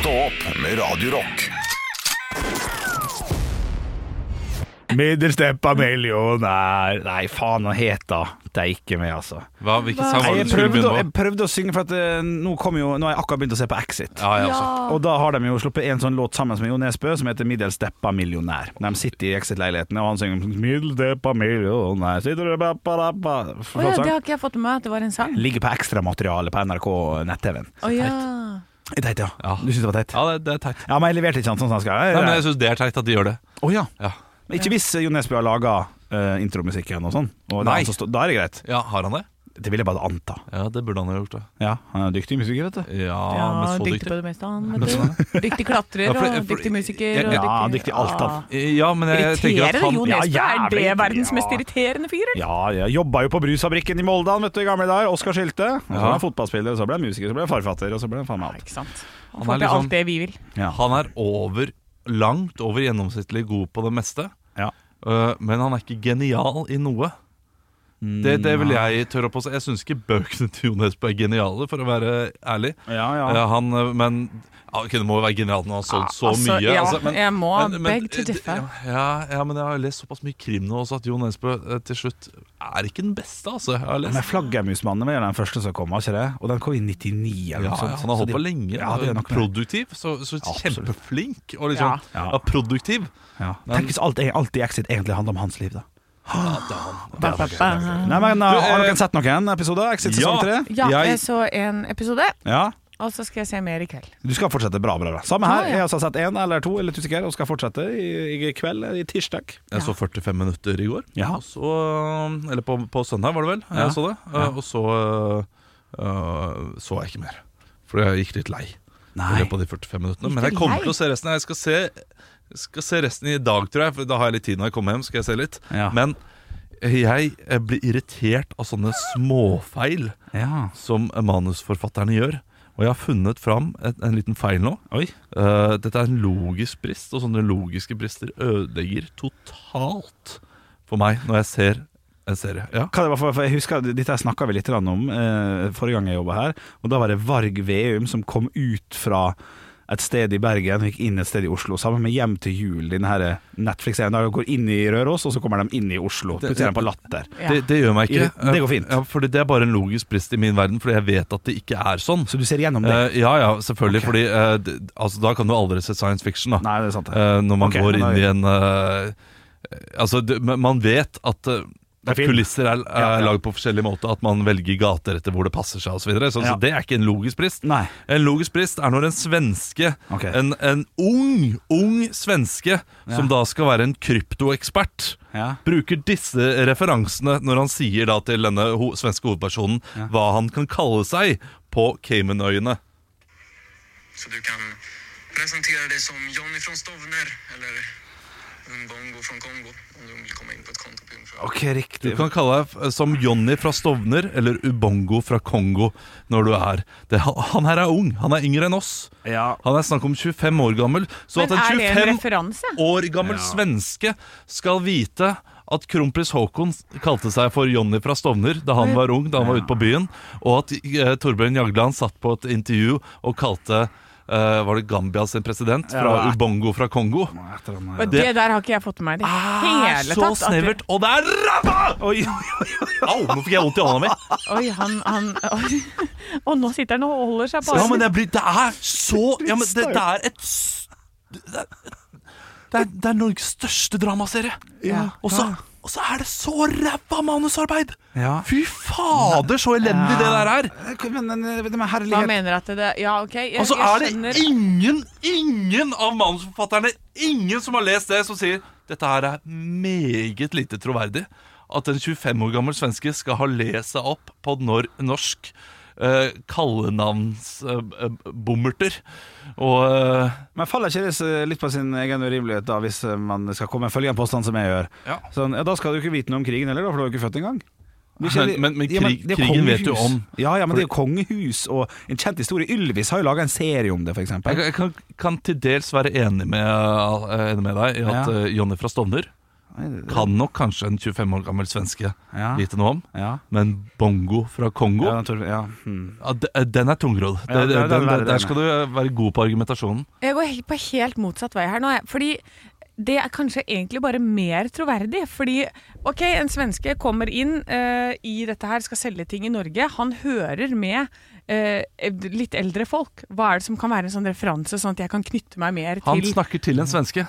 Stå opp med Radio Rock. Middelstepp Amelion er Nei, faen han heter Deike meg, altså. Hva, hvilken sang Nei, var det jeg, du skulle prøvde, å- begynne jeg på? prøvde å synge, for at, eh, nå, kom jo, nå har jeg akkurat begynt å se på Exit. Ja, jeg også. Og da har de jo sluppet en sånn låt sammen med Jo Nesbø som heter 'Middelsteppa millionær'. De sitter i Exit-leiligheten, og han synger 'Middelsteppa millionær'. Sitter du ba, ba, ba, ba. Å ja, Flott det sang. har ikke jeg fått med meg at det var en sang. Ligger på ekstramateriale på NRK nett-TV-en. Å ja. Teit, ja. Ja. Du syns det var teit? Ja, det, det er teit. Ja, men jeg leverte ikke han sånn som han skal. Nei, men jeg syns det er teit at de gjør det. Å ja. Ja, Men Ikke hvis eh, Jo Nesbø har laga intromusikken og sånn. Og det er Nei. han som står- Da er det greit. ja Har han det? Det vil jeg bare anta. Ja, det burde han ha gjort. det Ja, han er dyktig musiker, vet du. Ja, ja men så dyktig, dyktig. på det meste, han. Vet du. Dyktig klatrer Ja, for- og for- dyktig musiker. Ja, og ja, dyktig alt, da. Ah. Ja, men jeg Eh, tenker at Irriterende han Jo Ja, Nesbø. Er det jævlig. verdens mest Ja. irriterende fyr, eller? Ja, jeg jobba jo på Brusfabrikken i Molde han, vet du, i gamle dager. Oskar Sylte. Og Så Ja. ble han fotballspiller, og så ble han musiker, så ble han farfatter, og så ble han faen meg alt. Ikke sant. Han Han får er til liksom- alt det vi vil. Ja. Han er over, langt over gjennomsnittlig god på det meste. Ja. Øh, men han er ikke genial i noe. Det, det vil jeg tørre å påstå. Jeg syns ikke bøkene til Jo Nesbø er geniale, for å være ærlig. Ja, ja. Ja. Han, øh, men ja, ok, det må jo være genialt når han har solgt så Altså, mye. ja, altså, men- jeg må Ah, Men- men- beg to differ. Ja, ja, men jeg har lest såpass mye krim nå også at Jo Nesbø eh, til slutt er ikke den beste, altså. Jeg har Men lest. Flaggermusmannen var jo den første som kom, var ikke det? Og den kom i 99 eller Ja, noe sånt. han har holdt Så på de- lenge. Ja, det er nok det. produktiv, så, så Absolutt. kjempeflink og liksom, ja. Ja. produktiv. Ja. Tenk hvis alt, alt i Exit egentlig handler om hans liv, da. Ba, ba, ba. Nei, men uh, Har eh, dere sett noen episoder? Exit sesong ja. tre? Ah. Ja, Jeg- jeg så en episode, Ja. og så skal jeg se mer i kveld. Du skal fortsette bra, bra, bra. Samme her. Ja, ja. Jeg har altså sett én eller to, eller litt usikker, og skal fortsette i, i kveld, i tirsdag. Jeg så 45 minutter i går. Ja. Og så, eh, eller på, på søndag, var det vel. Ja. Jeg så det. eh, Ja. Og så øh, så jeg ikke mer. For jeg gikk litt lei i Nei. løpet av de 45 minuttene. Gikk Men du jeg kommer lei? til å se resten. Jeg skal se, skal se resten i dag, tror jeg. For da har jeg litt tid når jeg kommer hjem. Skal jeg se litt Ja. Men jeg eh, blir irritert av sånne småfeil Ja. som manusforfatterne gjør. Og jeg har funnet fram et, en liten feil nå. Oi. Eh, dette er en logisk brist, og sånne logiske brister ødelegger totalt for meg når jeg ser en serie. Ja. Hva det var for, for jeg husker, Dette snakka vi litt grann om eh, forrige gang jeg jobba her. Og Da var det Varg Veum som kom ut fra et sted i Bergen og gikk inn et sted i Oslo. Sammen med Hjem til jul, den her Netflix-serien. Der de går inn i Røros, og så kommer de inn i Oslo. Det- Putter dem på latter. Ja. Det, det gjør meg ikke. Det går fint. Eh, Ja, fordi det er bare en logisk brist i min verden, fordi jeg vet at det ikke er sånn. Så du ser gjennom det? Eh, ja, ja, selvfølgelig. Fordi eh, det, altså, da kan du aldri se science fiction. da Nei, det er sant. det. Eh, Når man Ok, går men da- inn i en eh, Altså, det, men man vet at eh, er at film. kulisser er, er Ja, ja. lagd på forskjellig måte, at man velger gater etter hvor det passer seg osv. Så, videre. så, Ja. så det er ikke en logisk brist. Nei. En logisk brist er når en svenske, Ok. en, en ung, ung svenske, som da skal være en kryptoekspert, Ja. bruker disse referansene når han sier da til denne ho svenske hovedpersonen hva han kan kalle seg på Caymanøyene. Så du kan presentera dig som Johnny från Stovner eller Umbongo från Kongo om du vill komma in på ett konto på Ungefär. Ok, Du riktig. kan kalle deg f- eh, som Johnny fra Stovner eller Ubongo fra Kongo når du er det, Han her er ung. Han er yngre enn oss. Ja. Han er snakk om 25 år gammel. Så Men at er en det 25 en referanse? år gammel Ja. svenske skal vite at kronprins Haakon kalte seg for Johnny fra Stovner da han var ung, da han var ute på byen, og at eh, Torbjørn Jagland satt på et intervju og kalte eh, Var det Gambia sin president? Fra Ja. Ubongo fra Kongo? Og det der har ikke jeg fått med meg i det hele Ah, så tatt. at du- snevert! Og det er ræva! Oi, oi, oi. Au, nå fikk jeg vondt i hånda mi. Oi, han, han oi. Og nå sitter han og holder seg på Ja, men det, blir, det er så ja, men det, det er et s- Det er, det er, det er Norges største dramaserie. Ja. Og så og så er det så ræva manusarbeid! Ja. Fy fader, så elendig det der er! Eh, Men, men, men Hva herlighet mener at det Ja, ok. Jeg, Og så jeg er det ingen, ingen av manusforfatterne, ingen som har lest det, som sier dette her er meget lite troverdig. At en 25 år gammel svenske skal ha lest seg opp på nor norsk eh, kallenavnsbommerter. og eh, Men faller ikke det s- litt på sin egen urimelighet da hvis eh, man skal komme med følgende påstand som jeg gjør? Ja. Sånn, ja, Da skal du ikke vite noe om krigen heller, da, for du har jo ikke født engang. Du er ikke- Men- men- men Ja, krig- det er krigen vet du kongehus. om. Ja, ja, men det er jo kongehus og en kjent historie. Ylvis har jo laga en serie om det, f.eks. jeg, kan- jeg kan, kan til dels være enig med, eh, enig med deg i at Ja. eh, Jonny fra Stovner kan nok kanskje en 25 år gammel svenske Ja. vite noe om. Ja. Men Bongo fra Kongo, Ja, ja. naturlig- ja. Hmm. de- eh, den er tungrodd. Ja, Det- det er den verre, den- der- den er. Der skal du eh, være god på argumentasjonen. Jeg går helt på helt motsatt vei her nå. jeg. Fordi det er kanskje egentlig bare mer troverdig. Fordi ok, en svenske kommer inn eh, i dette her, skal selge ting i Norge. Han hører med eh, litt eldre folk. Hva er det som kan være en sånn referanse, sånn at jeg kan knytte meg mer Han til snakker til en svenske.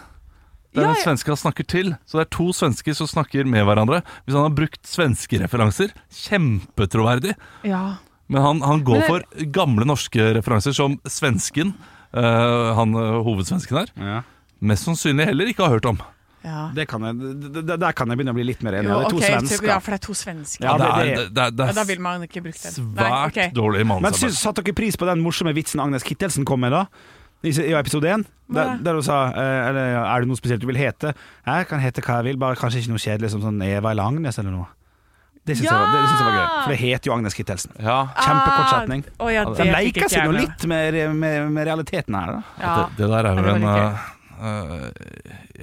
Det er Ja, en ja. svenske han snakker til. Så det er to svensker som snakker med hverandre. Hvis han har brukt svenskereferanser, kjempetroverdig. Ja. Men han, han går Men det- for gamle norske referanser, som svensken, eh, han eh, hovedsvensken her, Ja. mest sannsynlig heller ikke har hørt om. ja. Det kan jeg, det- det- der kan jeg begynne å bli litt mer enig. Jo, det er to ok, svensker. Ja, for det er to svensker. Ja, Ja, det er, det- det, det, det da er vil man ikke bruke den. svært Nei, ok. dårlig Men manusarbeid. syns, satte dere pris på den morsomme vitsen Agnes Kittelsen kom med da? I se- i episode 1, der, Nei. der hun sa eh, eller, Er det noe spesielt du vil hete? Jeg kan hete hva jeg vil, bare kanskje ikke noe kjedelig som sånn Eva eller Agnes eller noe. Det syns jeg, var- det syns jeg var gøy, for det heter jo Agnes Kittelsen. Ja, Kjempekortsetning. Ah, å ja, det De fikk ikke leker seg jeg nå med. litt med, med, med realiteten her. Da. Ja. det, det der er Ja, jo det en var eh, eh,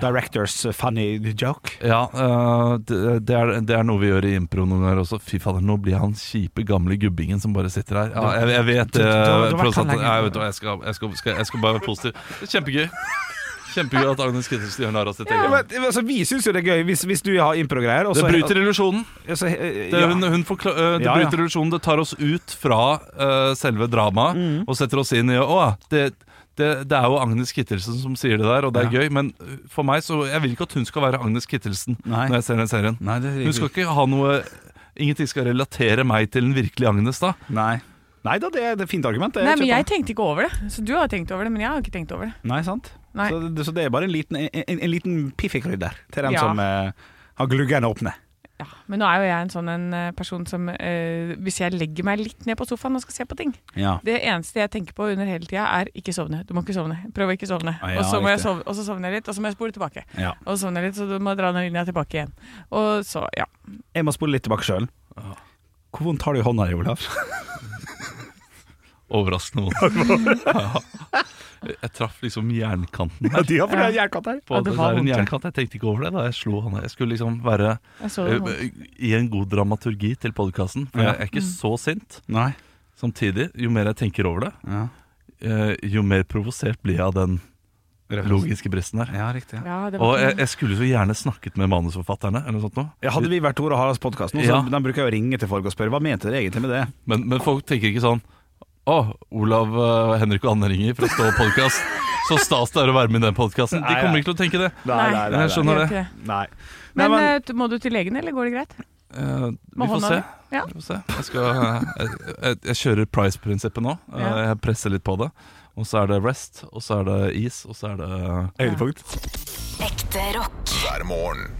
Directors eh, funny joke. Ja, eh, det, det, er, det er noe vi gjør i impro noen ganger også. Fy fader, nå blir han kjipe gamle gubbingen som bare sitter her. Ja, jeg, jeg vet Du- du- du det. har vært her produsenten. lenge. Nei, vet du hva, Jeg, skal- jeg, skal- skal- jeg skal bare være positiv. Det er Kjempegøy. Kjempegøy at Agnes Kittelsen gjør narr av sitt Ja, men, eget. altså, vi syns jo det er gøy, hvis, hvis du har impro-greier. og Det så- bryter illusjonen. Ja, så- eh, Det, ja. hun, hun forkla- øh, det Ja, ja. bryter illusjonen. Det tar oss ut fra øh, selve dramaet Mm. og setter oss inn i Å, det, det, det er jo Agnes Kittelsen som sier det der, og det er Ja. gøy. Men øh, for meg så Jeg vil ikke at hun skal være Agnes Kittelsen Nei. når jeg ser den serien. Nei, det er Hun skal ikke ha noe Ingenting skal relatere meg til den virkelige Agnes, da. Nei. Nei da, det er det er et fint argument. det er Nei, men kjøper jeg tenkte ikke over det. Så du har tenkt over det, men jeg har ikke tenkt over det. Nei, sant? Nei. Så, det, så det er bare en liten, en, en, en liten piffikrydder til dem Ja. som eh, har gluggene åpne. Ja, men nå er jo jeg en sånn en eh, person som eh, Hvis jeg legger meg litt ned på sofaen og skal se på ting Ja. Det eneste jeg tenker på under hele tida, er ikke sovne. Du må ikke sovne. Prøv å ikke sovne. Ah, ja, og, så må jeg riktig. sove, og så sovner jeg litt, og så må jeg spole tilbake. Ja. Og så sovner jeg litt, så du må dra den linja tilbake igjen. Og så, ja. Jeg må spole litt tilbake sjøl. Hvor vondt har du i hånda di, Olav? Overraskende vondt. ja. Jeg traff liksom jernkanten her. de har Ja. jernkatt her. På Ja, at det det var er en vondt, ja. jernkant. Jeg tenkte ikke over det da jeg slo han. Jeg skulle liksom være Jeg så det. nå. øh, i en god dramaturgi til podkasten. For Ja. jeg er ikke Mm. så sint. Nei. Samtidig, jo mer jeg tenker over det, Ja, eh, jo mer provosert blir jeg av den logiske bristen her. ja riktig. Ja. Ja, det Og var jeg, ikke noe. jeg skulle så gjerne snakket med manusforfatterne, eller noe sånt noe. Ja, hadde vi vært Tore Haralds podkast nå, så Ja. de bruker jeg å ringe til folk og spørre hva mente dere egentlig med det. Men, men folk tenker ikke sånn Å, Olav, eh, Henrik og Anne ringer fra Stå podkast. Så stas det er å være med i den podkasten. De Nei, kommer nei. ikke til å tenke det. Nei, nei, nei. Jeg skjønner. Gjør det. ikke det. Nei. Nei, Men, men, eh, du- må du til legen, eller går det greit? Eh, vi Med får hånda se. di? Ja. Vi får se. Jeg, skal, eh, jeg, jeg, jeg kjører price-prinsippet nå. Eh, Ja. Jeg presser litt på det. Og så er det rest, og så er det is, og så er det eh, eh, høydepunkt. Ekte rock. hver morgen.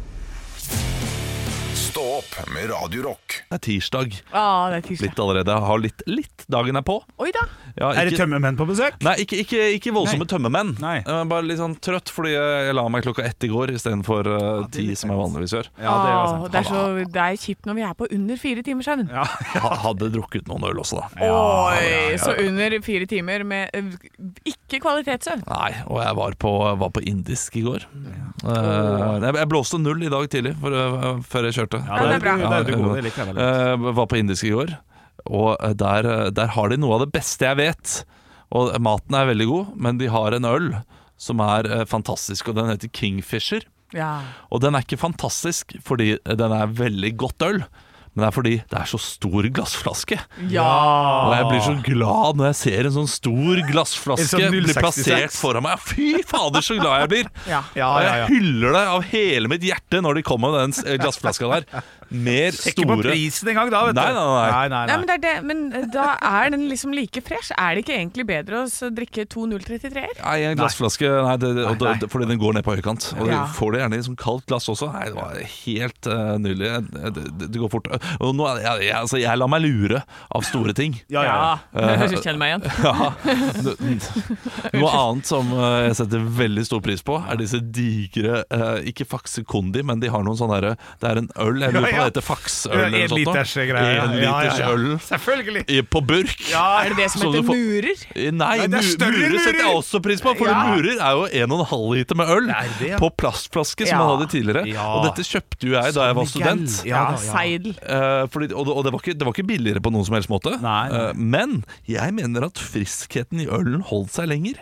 Stå opp med Radio Rock. Det er tirsdag Å, Ah, det er tirsdag. litt allerede. Jeg har litt, litt dagen er på. Oi da! Ja, Er ikke- det tømmermenn på besøk? Nei, ikke, ikke, ikke voldsomme tømmermenn. Nei. Jeg var bare litt sånn trøtt, fordi jeg la meg klokka ett i går istedenfor uh, ti, som jeg vanligvis gjør. Ja, det var Å, sant. det, er så, det er kjipt når vi er på under fire timer søvn. Ja. Ha- Hadde drukket noen øl også, da. Oi, så under fire timer med eh, ikke kvalitetssøvn. Nei, og jeg var på, var på indisk i går. Eh, jeg, jeg blåste null i dag tidlig for, eh, før jeg kjørte. Ja, det er bra. Ja, Det er du god, det liker jeg veldig. Eh, var på indisk i går, og eh, der, eh, der har de noe av det beste jeg vet. Og maten er veldig god, men de har en øl som er eh, fantastisk, og den heter Kingfisher. Ja. Og den er ikke fantastisk fordi den er veldig godt øl, men det er fordi det er så stor glassflaske. ja. Og jeg blir så glad når jeg ser en sånn stor glassflaske Ah. En sånn bli 0,66. plassert foran meg. Fy fader, så glad jeg blir! Ja. Ja, Og ja, jeg ja. hyller det av hele mitt hjerte når de kommer med den s- glassflaska der. eh, mer Ikke på store prisen engang, da, vet du. Nei, nei, nei. nei, Nei, men, det er det, men eh, da er den liksom like fresh. Er det ikke egentlig bedre å s- drikke to 033-er? Nei, en glassflaske nei, det, det, og Nei, det- nei. Fordi den går ned på høykant. Og Ja. du får det gjerne i sånn kaldt glass også. Nei, det var helt eh, nydelig. Det, det, det går fort. Og nå, er- jeg, jeg, altså, jeg lar meg lure av store ting. Ja, ja, ja. Eh, Kjenn meg igjen. Ja. Noe annet som eh, jeg setter veldig stor pris på, er disse digre eh, Ikke Faxe Kondi, men de har noen sånne derre Det er en øl, jeg Ja, lurer på om ja. det heter Faxøl Ja, en liters greier, ja. En Ja, ja, liters ja. øl Selvfølgelig. i- på burk. Er det det som Så du heter får- murer? Nei, det er mu- større murer setter jeg murer. også pris på, for Ja. murer er jo en og en halv liter med øl Det er det, ja. på plastflaske, som Ja. man hadde tidligere. Ja. Og dette kjøpte jo jeg da jeg var student. Ja, da, ja. Seidel. Eh, fordi, og det, og det, var ikke, det var ikke billigere på noen som helst måte. Nei, nei. Eh, men jeg mener at friskheten i ølen holdt seg lenger,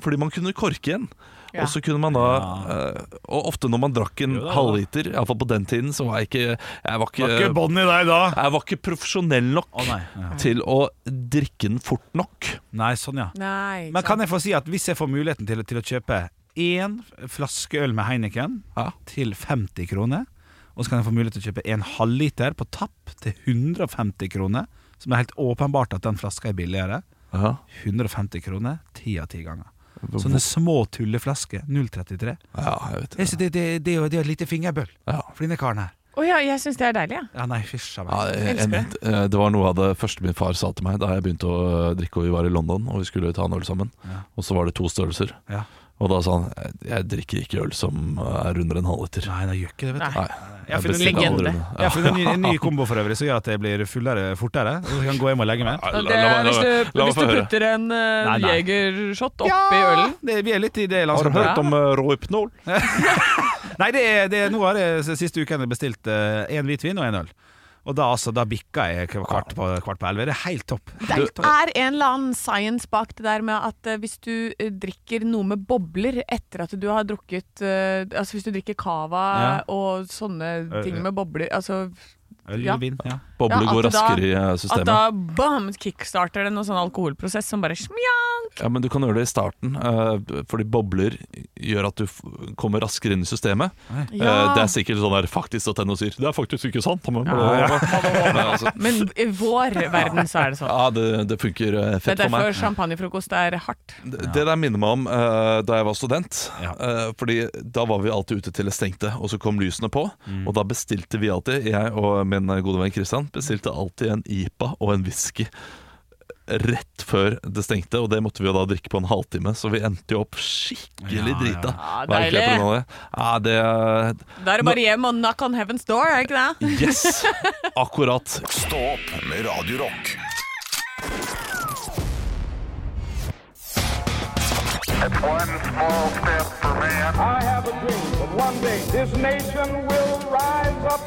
fordi man kunne korke igjen. Ja. Og så kunne man da eh, Og ofte når man drakk en Jo da, jo da. halvliter, iallfall på den tiden, så var jeg ikke Jeg var Var ikke, ikke bånd i deg da. jeg var ikke profesjonell nok Å, nei. Ja. til å drikke den fort nok. Nei, sånn ja. Nei, ikke Men kan sant. jeg få si at hvis jeg får muligheten til, til å kjøpe én flaske øl med Heineken Ja. til 50 kroner, og så kan jeg få mulighet til å kjøpe en halvliter på tapp til 150 kroner, som er helt åpenbart at den flaska er billigere, 150 kroner ti av ti ganger. Sånne små tulleflasker. 0,33. Ja, jeg vet Jeg synes Det, det, det, er jo- det er jo et lite fingerbøl Ja. for denne karen her. Å ja, jeg syns det er deilig, jeg. Ja. Ja, nei, fysj a meg. Ja, jeg, jeg, Elsker det. mente- eh, det var noe av det første min far sa til meg da jeg begynte å drikke og vi var i London og vi skulle ta en øl sammen. Og så var det to størrelser. Ja. Og da sa han jeg, jeg drikker ikke øl som eh, er under en halvliter. Nei, nei, gjør ikke det, vet du. Nei. Nei. Jeg har funnet bestiller en aldri legende. noe. Jeg har funnet en ny, en ny kombo for øvrig som gjør at jeg blir fullere fortere. Og så kan jeg gå hjem og legge meg. Ja, la- la- la- la meg få høre. en eh, Nei, nei. jegershot Det, vi er litt i det Har du landskapet. hørt om eh, Rohypnol? Nei, det er, det er, nå har jeg s- siste uken bestilt én hvitvin og én øl. Og da, altså, da bikka jeg k- kvart på, kvart på elleve. Det er helt topp. Det er en eller annen science bak det der med at eh, hvis du eh, drikker noe med bobler etter at du har drukket eh, Altså hvis du drikker cava og Eh, sånne ting med bobler Altså Øl, Ja. vin, ja. Boble Ja, at går det da- raskere i eh, at systemet. da bam, kickstarter det noen sånn alkoholprosess som bare smjank! Ja, men Du kan gjøre det i starten, eh, fordi bobler gjør at du f kommer raskere inn i systemet. Eh, Ja. Det er sikkert sånn der faktisk at NHO sier Det er faktisk ikke sant. Men, Men altså, Men i vår verden så er det sånn. ja, det, det funker eh, Det er fett for meg. derfor champagnefrokost er hardt. Det det der minner meg om eh, da jeg var student. Ja. Eh, fordi da var vi alltid ute til det stengte, og så kom lysene på. Mm. Og da bestilte vi alltid, jeg og min gode venn Christian, bestilte alltid en IPA og en whisky. Rett før det stengte, og det måtte vi jo da drikke på en halvtime. Så vi endte jo opp skikkelig Ja, drita. ja. Hva Ja, er ikke jeg deilig. på grunn av det? Ja, det Da er det bare hjem og knock on heaven's door, er det ikke det? Yes! Akkurat. Stå opp med Radio Rock. I have a dream that one day this nation will rise up.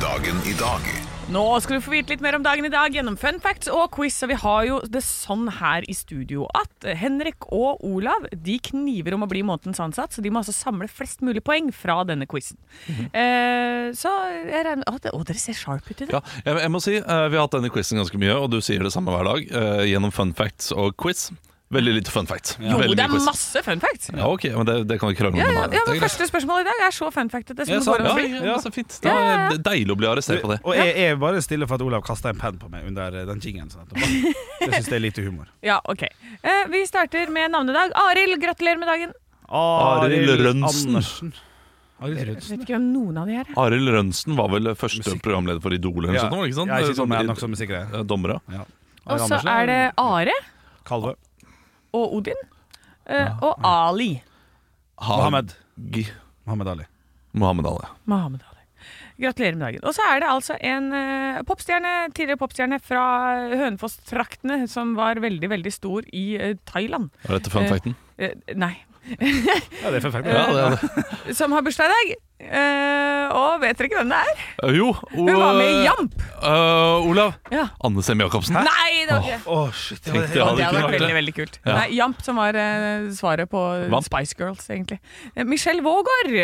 Dagen i dag. Nå skal du få vite litt mer om dagen i dag gjennom fun facts og quiz. Og vi har jo det sånn her i studio at Henrik og Olav de kniver om å bli månedens ansatt, så de må altså samle flest mulig poeng fra denne quizen. Mhm. eh, så jeg regner Å, det- å, dere ser sharp ut i dag. Ja, jeg, jeg må si, eh, Vi har hatt denne quizen ganske mye, og du sier det samme hver dag eh, gjennom fun facts og quiz. Veldig lite fun facts. Jo, Veldig det mye er quiz. masse fun facts! Ja, ok, men det, det kan vi krangle om. Ja, ja, nå. ja, Det er men greit. Første spørsmål i dag er så fun factete som Ja, det sant, går an å ja, bli. ja, ja, så fint. Da, Ja, ja, ja. det er Deilig å bli arrestert på det. Og jeg er bare stille for at Olav kasta en penn på meg under eh, den jingen. Sånn, etterpå. jeg syns det er lite humor. Ja, ok. Eh, vi starter med navnedag. Arild, gratulerer med dagen. Arild Rønsen. Andersen. Arild Jeg vet Rønsen. ikke hvem noen av de her er. Arild Rønsen var vel første programleder for Idol eller noe sånt? nå, Ikke sant? Ja, ikke sånn, men jeg er Sånn- nok som musiker. eh, Dommere. Ja. Og Arild så Andersen er det Are Kalve. og Odin. eh, og Ali. Mohammed. Hagi Mohammed Ali. Mohammed Ali. Mohammed Ali. Gratulerer med dagen. Og så er det altså en eh, popstjerne, tidligere popstjerne fra Hønefoss-traktene, som var veldig, veldig stor i eh, Thailand. Er dette fun Eh, facten? Eh, nei. Ja, det er perfekt. Ja, det er det. Som har bursdag i dag. Eh, og vet dere ikke hvem det er? Eh, Jo. Hun var med i Jamp! Eh, Olav. Ja. Anne Sem Jacobsen. Nei, det var ikke det. Å, shit. Det Tenkte jeg var hadde Det hadde ikke vært veldig klart det. veldig kult. Ja. Nei, Jamp som var eh, svaret på Vamp. Spice Girls, egentlig. Eh, Michelle Vågård!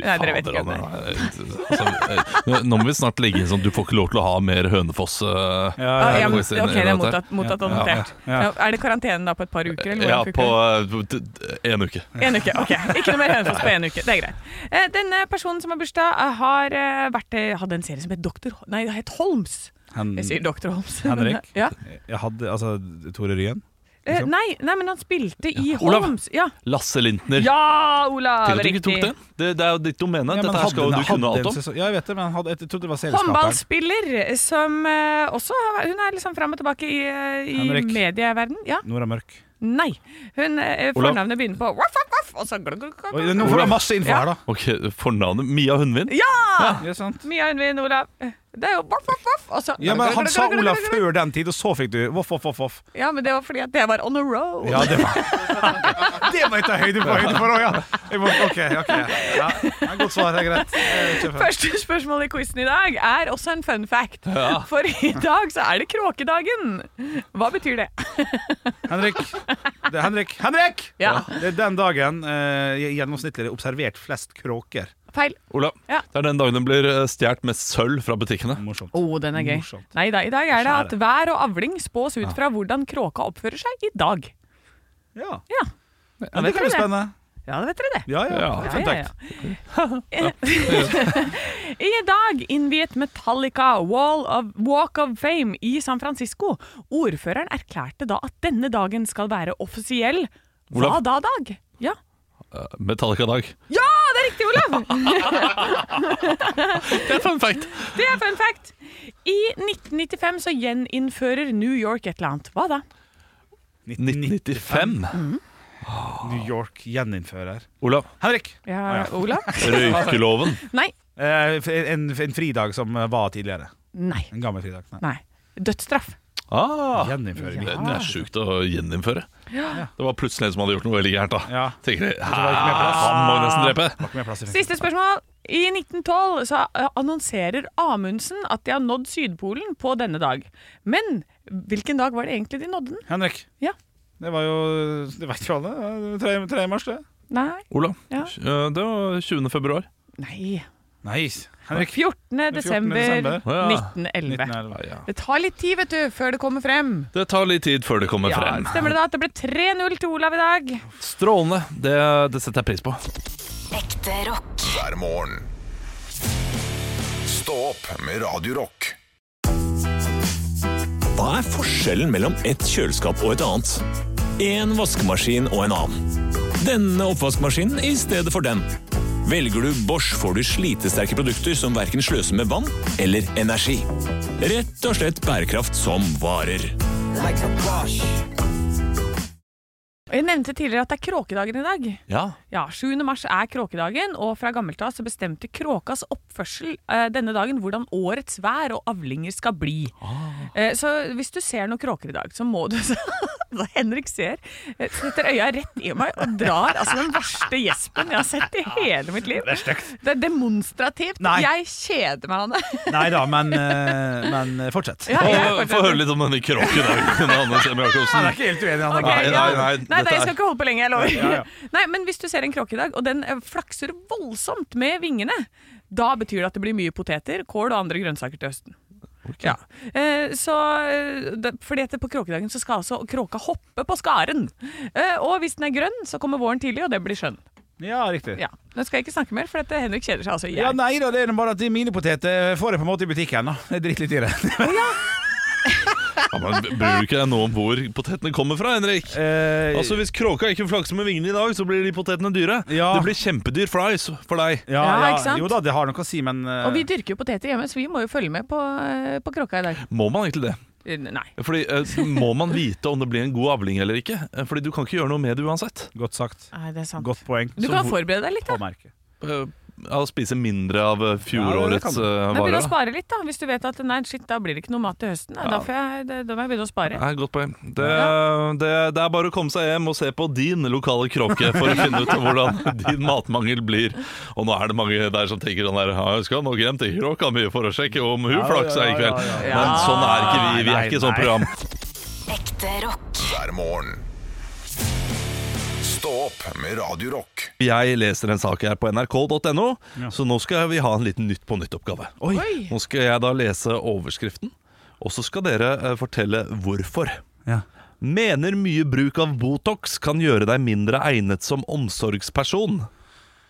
Nei, dere vet ikke. Fader, Nei. han er- eh, altså, eh, Nå må vi snart legge inn sånn du får ikke lov til å ha mer Hønefoss. eh, Ja, Ah, ja, ja, må men, vi se inn ok, i det er dette. mottatt, mottatt og Ja, ja, notert. ja. Ja, Er det karantene da på et par uker? Eller Ja, hvordan på funker eh, d- det? d- en uke. En uke, ok. Ikke noe mer Hønefoss på en uke. Det er greit. Eh, Denne personen som har bursdag, eh, har eh, vært, eh, hadde en serie som het Dr. Hol- Nei, det het Holmes. Hen, Jeg sier Dr. Mm. Holmes. Henrik? Ja. jeg hadde, altså, Tore Ryen? Eh, Nei, nei, men han spilte i Olav. Holmes. Ja, Lasse Lintner. ja Olav! Tenk at du ikke tok Riktig. den. Det, det er jo ditt domene. Ja, men Dette her hadde skal jo den- du kunne hadde alt en om. sesong- Ja, jeg vet det, men han hadde, jeg trodde det var serieskaperen. Håndballspiller som eh, også har- Hun er liksom fram og tilbake i, eh, i Henrik. medieverden. Ja. Nora Mørk. Nei. Hun eh, Olav. Fornavnet begynner på voff, voff, voff, og så glug, glug, glug, Oi, glug. nå får jeg masse info Ja. her, da. Ok, Fornavnet Mia Hundvin? Ja! Ja, sant. Mia Hundvin, Olav. Eh, Det er jo voff, voff, voff, og så Ja, men Han sa Olav før den tid, og så fikk du voff, voff, voff. voff. Ja, men det var fordi at jeg var on a roll. Ja, det var Det må jeg ta høyde for! Høyde for også, ja. jeg må, OK. ok ja. Ja, Godt svar. Det er greit. Eh, kjør på. Første spørsmål i quizen i dag er også en fun fact. For i dag så er det kråkedagen. Hva betyr det? Henrik. Det er Henrik. Henrik! Ja. Det er den dagen eh, gjennomsnittlig er det observert flest kråker. Feil. Olav. Ja. Det er den dagen den blir eh, stjålet med sølv fra butikkene. Morsomt. Å, den er gøy. Morsomt. Nei da, i dag er det at Skjære. vær og avling spås ut fra hvordan kråka oppfører seg i dag. Ja. Ja, Men det vet kan bli dere det. spennende. ja det vet dere det. Ja, ja. Det Ja. er Ja, fun ja, fact. ja. I dag innviet Metallica Wall of Walk of Fame i San Francisco. Ordføreren erklærte da at denne dagen skal være offisiell. Hva Olav. da, Dag? Ja, Eh, Metallica-dag. ja det er riktig, Olav! Det er fun fact! Det er fun fact. I 1995 så gjeninnfører New York et eller annet. Hva da? 1995. New York gjeninnfører. Olav. Henrik! Ja, Ah, ja. Olav? Røykeloven. Nei. Eh, en, en fridag som var tidligere. Nei. En gammel fridag. Nei. Nei. Dødsstraff. Ah, Gjeninnføring. det, det er sjukt å gjeninnføre. Det var plutselig en som hadde gjort noe veldig gærent. da Ja. Tenker jeg, det ikke mer "Hæ, plass." Han må jeg nesten drepe! Var ikke mer plass i fengsel. Siste spørsmål. I 1912 så eh, annonserer Amundsen at de har nådd Sydpolen på denne dag. Men hvilken dag var det egentlig de nådde den? Henrik. Ja. Det var jo Det vet jo alle. det var 3, 3. mars, det. Nei. Olav. Ja. eh, Det var 20. februar. Nei. Nice. Henrik. 14. 14. desember desember. Å, ja. 1911. 1911. Det tar litt tid, vet du, før det kommer frem. Det tar litt tid før det kommer frem. Stemmer det da at det ble 3-0 til Olav i dag? Strålende. Det, det setter jeg pris på. Ekte rock. hver morgen. Stå opp med Radio Rock. Hva er forskjellen mellom et kjøleskap og et annet? En vaskemaskin og en annen. Denne oppvaskmaskinen i stedet for den. Velger du Bosch får du slitesterke produkter som verken sløser med vann eller energi. Rett og slett bærekraft som varer. Og Jeg nevnte tidligere at det er kråkedagen i dag. Ja. Ja, 7. mars er kråkedagen, og fra gammelt av så bestemte kråkas oppførsel eh, denne dagen hvordan årets vær og avlinger skal bli. Eh, så hvis du ser noen kråker i dag, så må du Hva Henrik ser, eh, setter øya rett i meg og drar altså den verste gjespen jeg har sett i hele mitt liv. Det er demonstrativt. Nei. Jeg kjeder meg, Hanne. Nei da, men, eh, men eh, fortsett. Ja, jeg Og Få høre litt om denne kråken. da, Hanne Sem Nei, det Jacobsen. er ikke helt uenig. Anna. Ok, Nei, ja. nei, nei, nei, dette jeg skal er- ikke holde på lenge, jeg lover. Ja, ja. Nei, men hvis du ser en kråke i dag, og den eh, flakser voldsomt med vingene, da betyr det at det blir mye poteter, kål og andre grønnsaker til høsten. Ja. Eh, så, eh, det, fordi at på kråkedagen så skal altså kråka hoppe på skaren. Eh, og hvis den er grønn, så kommer våren tidlig, og det blir skjønn. Ja, riktig. Ja. Nå skal jeg ikke snakke mer, for at eh, Henrik kjeder seg altså. i hjel. Ja, nei da, det er bare at mine poteter får jeg på en måte i butikken. da Det er dritt litt i det. Ja, men Bryr du ikke deg nå om hvor potetene kommer fra, Henrik? Eh, Altså Hvis kråka ikke flakser med vingene i dag, så blir de potetene dyre. Ja. Det blir kjempedyr fries for deg. ja, Ja, ja, ikke sant? Jo da, det har noe å si, men eh, Og vi dyrker jo poteter hjemme, så vi må jo følge med på, eh, på kråka i dag. Må man egentlig det? Eh, Nei. Fordi eh, Må man vite om det blir en god avling eller ikke? Eh, Fordi du kan ikke gjøre noe med det uansett. Godt sagt. Nei, det er sant. Godt poeng. Du Så kan hvor- forberede deg litt, da. påmerke. Eh, Av å spise mindre av eh, Ja, det kan fjorårets du. eh, Men begynn varer. å da. spare litt, da. Hvis du vet at nei, shit, da blir det ikke noe mat til høsten. Da, da, får jeg, da, da må jeg begynne å spare. Nei, godt poeng. Det, det, det er bare å komme seg hjem og se på din lokale kråke for å finne ut hvordan din matmangel blir. Og nå er det mange der som tenker sånn der ja, Jeg skal nok hjem til kråka mi for å sjekke om hun ja, flaksa i ja, kveld. ja, ja. Men sånn er ikke vi. Vi Nei, er ikke sånn nei. program. Ekte rock. hver morgen. Stå opp med Radio Rock. Jeg leser en sak her på nrk.no, Ja. så nå skal vi ha en liten Nytt på nytt-oppgave. Oi. Nå skal jeg da lese overskriften, og så skal dere eh, fortelle hvorfor. Ja. Mener mye bruk av Botox kan gjøre deg mindre egnet som omsorgsperson.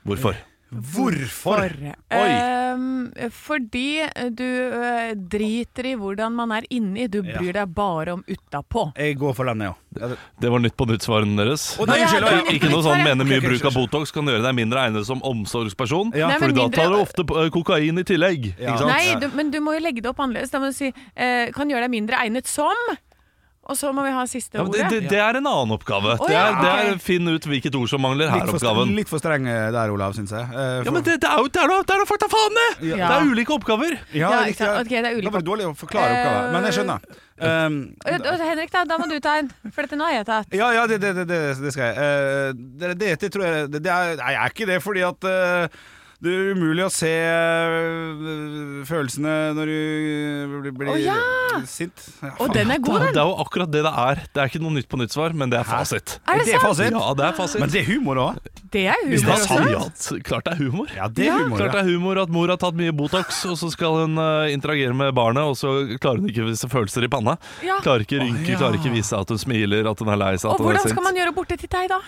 Hvorfor? Hvorfor? Ehm, fordi du eh, driter i hvordan man er inni, du bryr deg bare om utapå. Jeg går for den, jeg òg. Det var Nytt på nytt-svaren deres. Å, nei, Ja, unnskyld, det ja. var Nytt på Ikke noe sånn Nytt-svaret. 'mener mye Ok, ok, bruk av skjønner. Botox kan gjøre deg mindre egnet som omsorgsperson'. Ja. Nei, For men da mindre- tar du ofte eh, kokain i tillegg. Ja. Ikke sant? Nei, du, men du må jo legge det opp annerledes. Da må du si eh, 'kan gjøre deg mindre egnet som', og så må vi ha siste Ja, men ordet. det, det, det er en annen oppgave. Å, det er, ja, det ok. er Finn ut hvilket ord som mangler Litt for, her-oppgaven. streng, litt for streng eh, der, Olav, syns jeg. Eh, Ja, for- men det, det er jo det er, jo- det er jo fakta faen det! Ja. Det er ulike oppgaver. Ja, Ja, riktig, ikke sant. ja. Ok, det er Da ulike var det dårlig å forklare oppgaven, men jeg skjønner. Um, Eh, Og- og- og Henrik, da, da må du ta en, for dette nå har jeg tatt. ja, ja, det, det, det, det det skal jeg. Eh, det, det, det tror jeg det, det er, Nei, jeg er ikke det, fordi at eh, det er umulig å se eh, følelsene når du blir, blir Å, sint. Ja, Og faen. den er god, Det den! er jo akkurat det det er. Det er ikke noe nytt på nytt svar, men det er fasit. Er det det er sant? fasit. Ja, det er fasit. Men det er humor òg. Det er Hvis det humor er også. sant, ja, t- klart det er humor. Ja, det er humor. Klart Ja. det er humor at mor har tatt mye Botox, og så skal hun eh, interagere med barnet, og så klarer hun ikke vise følelser i panna. Ja. Klarer ikke rynke, ja. klarer ikke vise at hun smiler, at hun er lei seg, Og at hun er hvordan sint. skal man gjøre borte til deg, da?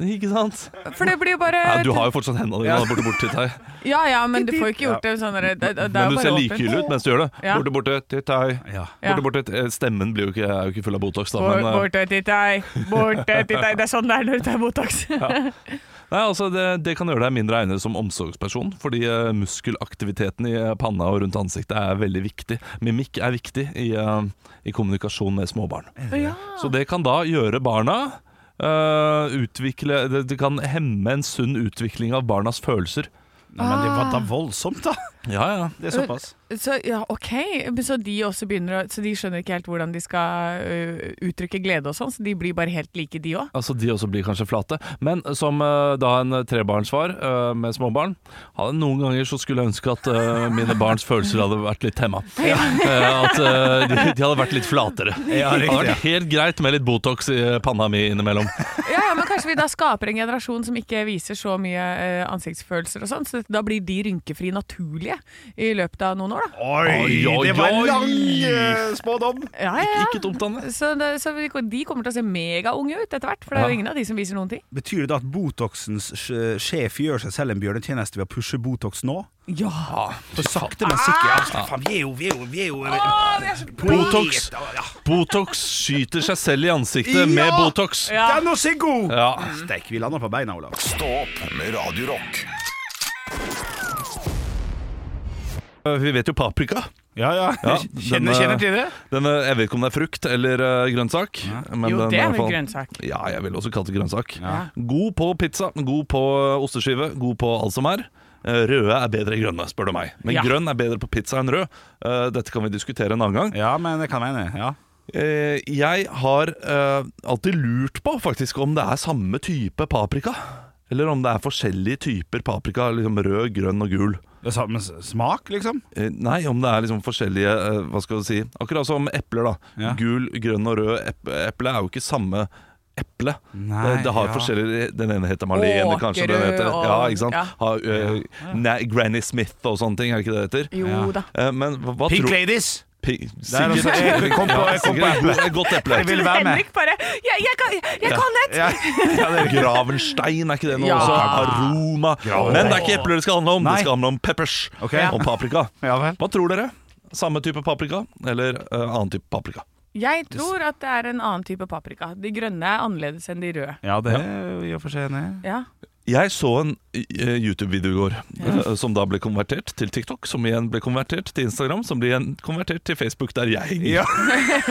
Ikke sant? For det blir jo bare Nei, du har jo fortsatt hendene dine borte bort til deg. Ja ja, men du får jo ikke gjort det sånn der- det, det, det er Men jo du bare ser åpent. likegyldig ut mens du gjør det. Ja. Borte, borte, til deg. Ja. Ja. Borte, borte, til- Stemmen blir jo ikke, er jo ikke full av Botox, da. Bort- Men, eh, Borte til deg, borte til deg. Det er sånn det er når du tar Botox. Nei, altså det, det kan gjøre deg mindre egnet som omsorgsperson, fordi eh, muskelaktiviteten i eh, panna og rundt ansiktet er veldig viktig. Mimikk er viktig i, eh, i kommunikasjon med småbarn. Ja. Så det kan da gjøre barna eh, utvikle, det, det kan hemme en sunn utvikling av barnas følelser. Nei, men det Ah. var da voldsomt, da. Ja, ja. Det er såpass. Så, ja, ok, Men så de også begynner å Så de skjønner ikke helt hvordan de skal ø, uttrykke glede og sånn, så de blir bare helt like, de òg. Altså De også blir kanskje flate. Men som eh, da en trebarnsfar eh, med småbarn hadde Noen ganger så skulle jeg ønske at eh, mine barns følelser hadde vært litt temma. Eh, at eh, de, de hadde vært litt flatere. Ja, det hadde riktig, ja. vært helt greit med litt Botox i eh, panna mi innimellom. Ja, ja, men kanskje vi da skaper en generasjon som ikke viser så mye ø, ansiktsfølelser og sånn, så da blir de rynkefrie naturlige i løpet av noen år, da. Oi, Oi, det var oi, en oi. lang eh, spådom. Ja, ja, ja. Ikke dumt, Anne. Så, det, så vi- de kommer til å se megaunge ut etter hvert, for det er jo ingen av de som viser noen ting. Betyr det da at Botoxens sj- sjef gjør seg selv en bjørnetjeneste ved å pushe Botox nå? Ja! For sakte, men sikkert. Ja, faen, vi er jo, vi er jo, vi er jo eh, Botox. Ja, Botox skyter seg selv i ansiktet Ja! med Botox. Ja. Den er så god! Ja. Steik, vi lander på beina, Olav. Stå opp med Radio Rock. Eh, Vi vet jo paprika. Ja, ja. Ja, kjenner, den, kjenner til det? Den, eh, jeg vet ikke om det er frukt eller eh, grønnsak. men Jo, den det i er hvert vel fall- grønnsak. Ja, jeg vil også kalle det grønnsak. God på pizza, god på osteskive, god på alt som er. Eh, Røde er bedre enn grønne, spør du meg. Men Ja. grønn er bedre på pizza enn rød. Eh, Dette kan vi diskutere en annen gang. Ja, men det kan jeg mene. Ja. Eh, Jeg har eh, alltid lurt på faktisk om det er samme type paprika. Eller om det er forskjellige typer paprika. Liksom rød, grønn og gul. Det er samme s- smak, liksom? Eh, Nei, om det er liksom forskjellige eh, Hva skal du si Akkurat som epler, da. Ja. Gul, grønn og rød ep- eple er jo ikke samme eple. Eh, Nei, det, det har ja. forskjellige Den ene heter Marlene, kanskje. Den Åkerød heter, og- ja, ikke sant? ja. Har, eh, nei, Granny Smith og sånne ting, er det ikke det det heter? Jo Ja. da. Eh, men hva, hva Pink tror Ladies! Pink er Sikkert. også- jeg kom på- Ja, jeg kom på sikkert et eple. godt- et godt eple. Jeg vil være med. Henrik bare Jeg, jeg, kan, jeg kan et! Ja. Gravenstein, er ikke det noe Ja. også? Aroma. Men det er ikke epler det skal handle om, Nei. det skal handle om peppers Ok. og paprika. Ja vel. Hva tror dere? Samme type paprika eller eh, annen type paprika? Jeg tror at det er en annen type paprika. De grønne er annerledes enn de røde. Ja, det er vi i og for seg enig i. Ja. Jeg så en eh, YouTube-video i går eh, som da ble konvertert til TikTok, som igjen ble konvertert til Instagram, som ble igjen konvertert til Facebook, der jeg henger. Ja.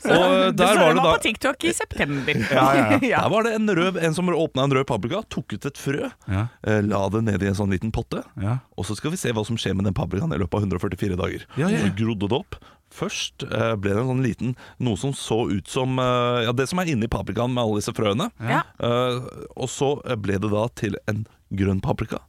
Og eh, der var det da på TikTok i september. Ja, ja, ja. der var det en, rød, en som åpna en rød paprika, tok ut et frø, Ja. eh, la det ned i en sånn liten potte, Ja. og så skal vi se hva som skjer med den paprikaen i løpet av 144 dager. Ja, ja. Så grodde det opp. Først eh, ble det en sånn liten Noe som så ut som eh, Ja, det som er inni paprikaen med alle disse frøene. Ja. Eh, og så eh, ble det da til en grønn paprika.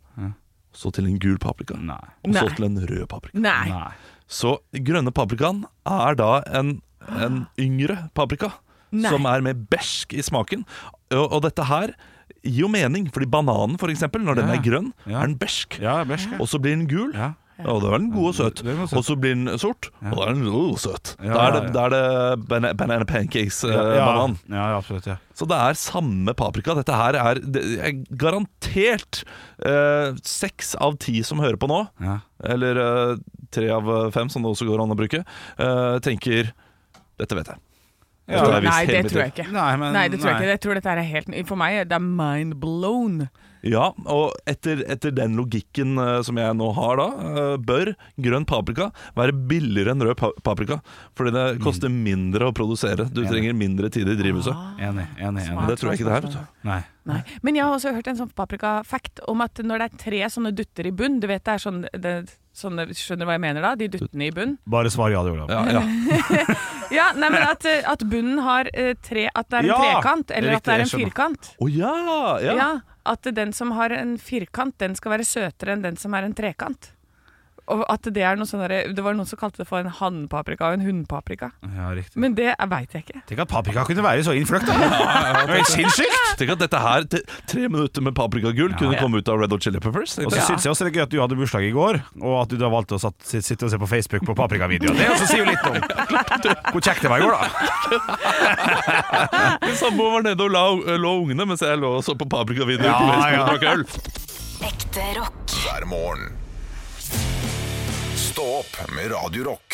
Så til en gul paprika. Nei. Og så Nei. til en rød paprika. Nei. Nei. Så grønne paprikaen er da en, en yngre paprika Nei. Som er mer bersk i smaken og, og dette her gir jo mening, fordi bananen, for eksempel, når den Ja. er grønn, Ja. er den bersk. Ja, bæsj. Og så blir den gul. Ja. Ja, da er den god og søt. Det er den søt. Og så blir den sort, og da er den oh, søt. Ja, Da ja, er det, da er det bana- banana eh, eh, pancakes-banan. Ja, ja, absolutt. Ja. Så det er samme paprika. Dette her er, det er garantert eh, seks av ti som hører på nå, Ja. eller eh, tre av eh, fem, som det også går an å bruke, eh, tenker dette vet jeg. Ja, har jeg Nei, visst hele det mitt tror jeg liv. ikke. Nei, men- nei, det tror jeg nei. ikke. Jeg tror dette er helt For meg det er mind blown. Ja, og etter, etter den logikken eh, som jeg nå har da, eh, bør grønn paprika være billigere enn rød pa- paprika. Fordi det koster mindre å produsere. Du trenger mindre tid i Ah. drivhuset. Enig, enig, Men enig. det tror jeg ikke det er, vet du. Nei. Nei. Men jeg har også hørt en sånn paprika-fact om at når det er tre sånne dutter i bunn Du vet det er sånn det, sånne, Skjønner du hva jeg mener da? De duttene i bunn. Bare svar ja, du, Olav. Ja, ja. Ja, nei, men at, eh, at bunnen har eh, tre At det er en Ja, trekant, det er eller riktig, at det er jeg en skjønner. firkant. Å ja, Ja. ja. At den som har en firkant, den skal være søtere enn den som er en trekant. Og at det er noe sånn derre- Det var noen som kalte det for en hannpaprika og en hundpaprika. Ja, riktig. Men det veit jeg ikke. Tenk at paprika kunne være så innfløkt, da! Det er helt sinnssykt! Tenk at dette her, te- tre minutter med paprikagull, kunne komme ut av Red Hot Chili Peppers. Og så synes jeg også det er gøy at du hadde bursdag i går, og at du da valgte å satt, sitte, sitte og se på Facebook på paprikavideoer. Det også sier jo litt om hvor kjekt det var i går, da. Min samboer var nede og la, lå ungene mens jeg lå og så på paprikavideoer Ja, på Facebook ja. og drakk øl. Ekte rock. hver morgen. Stå opp med Radio Rock.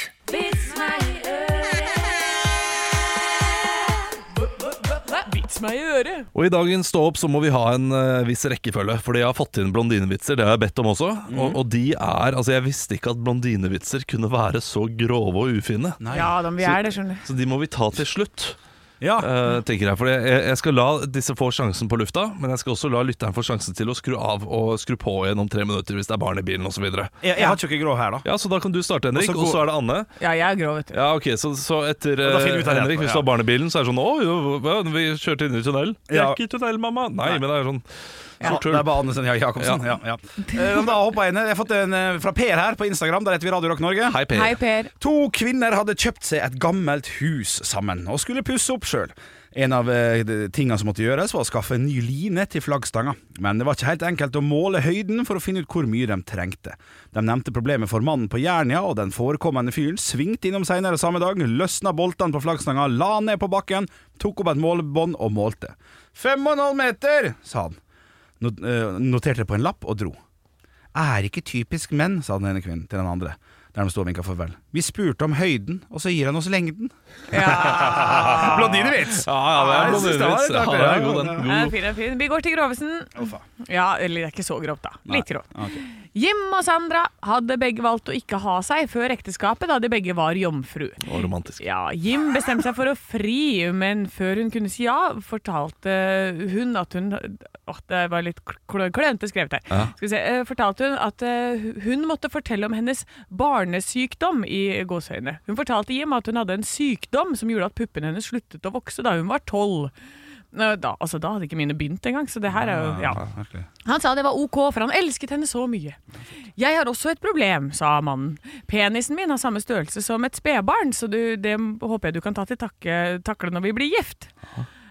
Vits meg i øret! Og i dagens Stå opp så må vi ha en eh, viss rekkefølge, fordi jeg har fått inn blondinevitser. Det har jeg bedt om også. Og, og de er Altså, jeg visste ikke at blondinevitser kunne være så grove og ufine. Ja da, men vi er det, skjønner du. Så de må vi ta til slutt, Ja. eh, tenker jeg. For jeg, jeg skal la disse få sjansen på lufta, men jeg skal også la lytteren få sjansen til å skru av og skru på igjen om tre minutter hvis det er barn i bilen osv. Jeg, jeg har tjukke grå her, da. Ja, så da kan du starte, Henrik, Og så og går- så er det Anne. Ja, jeg er grå, vet du. Ja, ok, så, så etter da finner vi eh, ut av det etterpå, Henrik, hvis du ja. har barn i bilen, så er det sånn Å, jo, hva, vi kjørte inn i tunnel. Jeg Ja. er ikke i tunnel, mamma. Nei, men det er sånn Ja, det er bare Andersen ja, Jacobsen. Ja, ja. Eh, men Da hopper jeg inn her. Jeg har fått en eh, fra Per her på Instagram. Der heter vi Radio Rock Norge. Hei, Per. Hei, Per. To kvinner hadde kjøpt seg et gammelt hus sammen og skulle pusse opp sjøl. En av eh, de tingene som måtte gjøres, var å skaffe en ny line til flaggstanga. Men det var ikke helt enkelt å måle høyden for å finne ut hvor mye de trengte. De nevnte problemet for mannen på Jernia, og den forekommende fyren svingte innom seinere samme dag, løsna boltene på flaggstanga, la den ned på bakken, tok opp et målebånd og målte. Fem og en halv meter, sa han. Not eh, noterte det på en lapp og dro. Er ikke typisk menn, sa den ene kvinnen til den andre. Der de sto og vinka farvel. Vi spurte om høyden, og så gir han oss lengden. Blondinevits! Ja, ja, det er jeg synes det var blondinevits. litt Ja, artig, det er ja. god den. Ja, God. fin, ja, fin. Vi går til Grovesen. Ja, eller det er ikke så grovt, da. Litt grovt. Jim og Sandra hadde begge valgt å ikke ha seg før ekteskapet, da de begge var jomfru. Og romantisk. Ja, Jim bestemte seg for å fri, men før hun kunne si ja, fortalte hun at hun Åh, det var litt kl- kl- klønete skrevet her. Skal vi se, eh, fortalte hun at eh, hun måtte fortelle om hennes barnesykdom i gåseøyne. Hun fortalte Jim at hun hadde en sykdom som gjorde at puppene hennes sluttet å vokse da hun var tolv. Nå, Da, altså, da hadde ikke mine begynt engang, så det her er jo ja. Han sa det var ok, for han elsket henne så mye. Jeg har også et problem, sa mannen. Penisen min har samme størrelse som et spedbarn, så du, det håper jeg du kan ta til takke, takle når vi blir gift.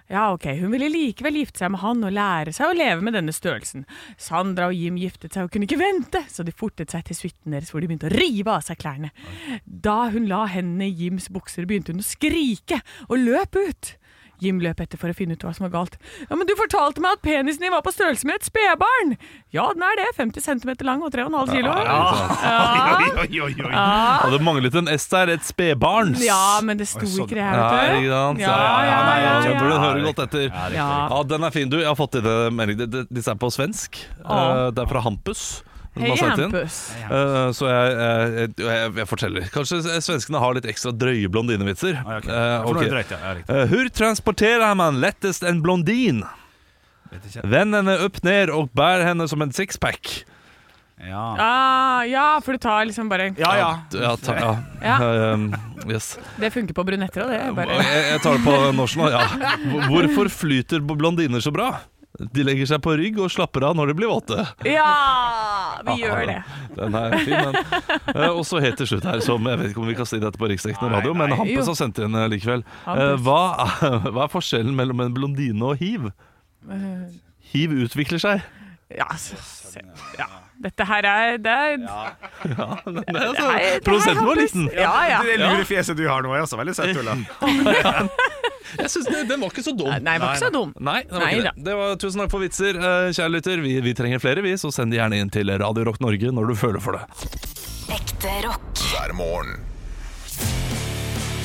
Ja, ok, hun ville likevel gifte seg med han og lære seg å leve med denne størrelsen. Sandra og Jim giftet seg og kunne ikke vente, så de fortet seg til suiten deres hvor de begynte å rive av seg klærne. Da hun la hendene i Jims bukser, begynte hun å skrike og løp ut. Jim løp etter for å finne ut hva som var galt. Ja, men du fortalte meg at penisen din var på størrelse med et spedbarn! Ja, den er det. 50 cm lang og 3,5 kilo. Ja. Ah. Hadde manglet en S der. Et spedbarns. ja, men det sto Oi, sånn. ikke det her, Ja, vet du. ikke sant? Ja, ja, ja, ja, ja, Jeg ja. burde høre godt etter. Ja, Ja. Den er fin, du. Jeg har fått i det melding. De- de- Disse er på svensk. Ja. Eh, Det er fra Hampus. som Hei, har sendt inn. Hampus. Eh, Så jeg, jeg, jeg, jeg forteller. Kanskje svenskene har litt ekstra drøye blondinevitser. Ja, ok. Eh, For nå er det ok. drøyt, ja. Ja, riktig. Eh, Hur transporterer man lettest en blondin? Vend henne opp ned og bær henne som en sixpack. Ja. Ah, ja, for du tar liksom bare Ja, ja. Ja, ta, ja. Ja. Ehm, yes. Det funker på brunetter òg, det. er Bare. jeg, jeg tar det på norsk nå. Ja. Hvor- Hvorfor flyter blondiner så bra? De legger seg på rygg og slapper av når de blir våte. Ja, vi gjør det. Den er fin, den. Eh, Og så helt til slutt her, som jeg vet ikke om vi kan si dette på riksdekkende radio, men Jo. Hampus har sendt inn eh, likevel. Eh, Hampus. Eh. Hva er, hva er forskjellen mellom en blondine og hiv? hiv utvikler seg. Ja, så, se, ja. Dette her er Det er Det er Nei, det altså, her Prosenten var hørtes- liten. Ja, ja. Det lurefjeset du har nå, er også veldig søtt, Ulla. Jeg synes den, den var ikke så dum. Nei, den var ikke så dum. Nei, den var Nei ikke det. det var, tusen takk for vitser, eh, kjære lytter. Vi, vi trenger flere, vi, så send de gjerne inn til Radio Rock Norge når du føler for det. Ekte rock. hver morgen.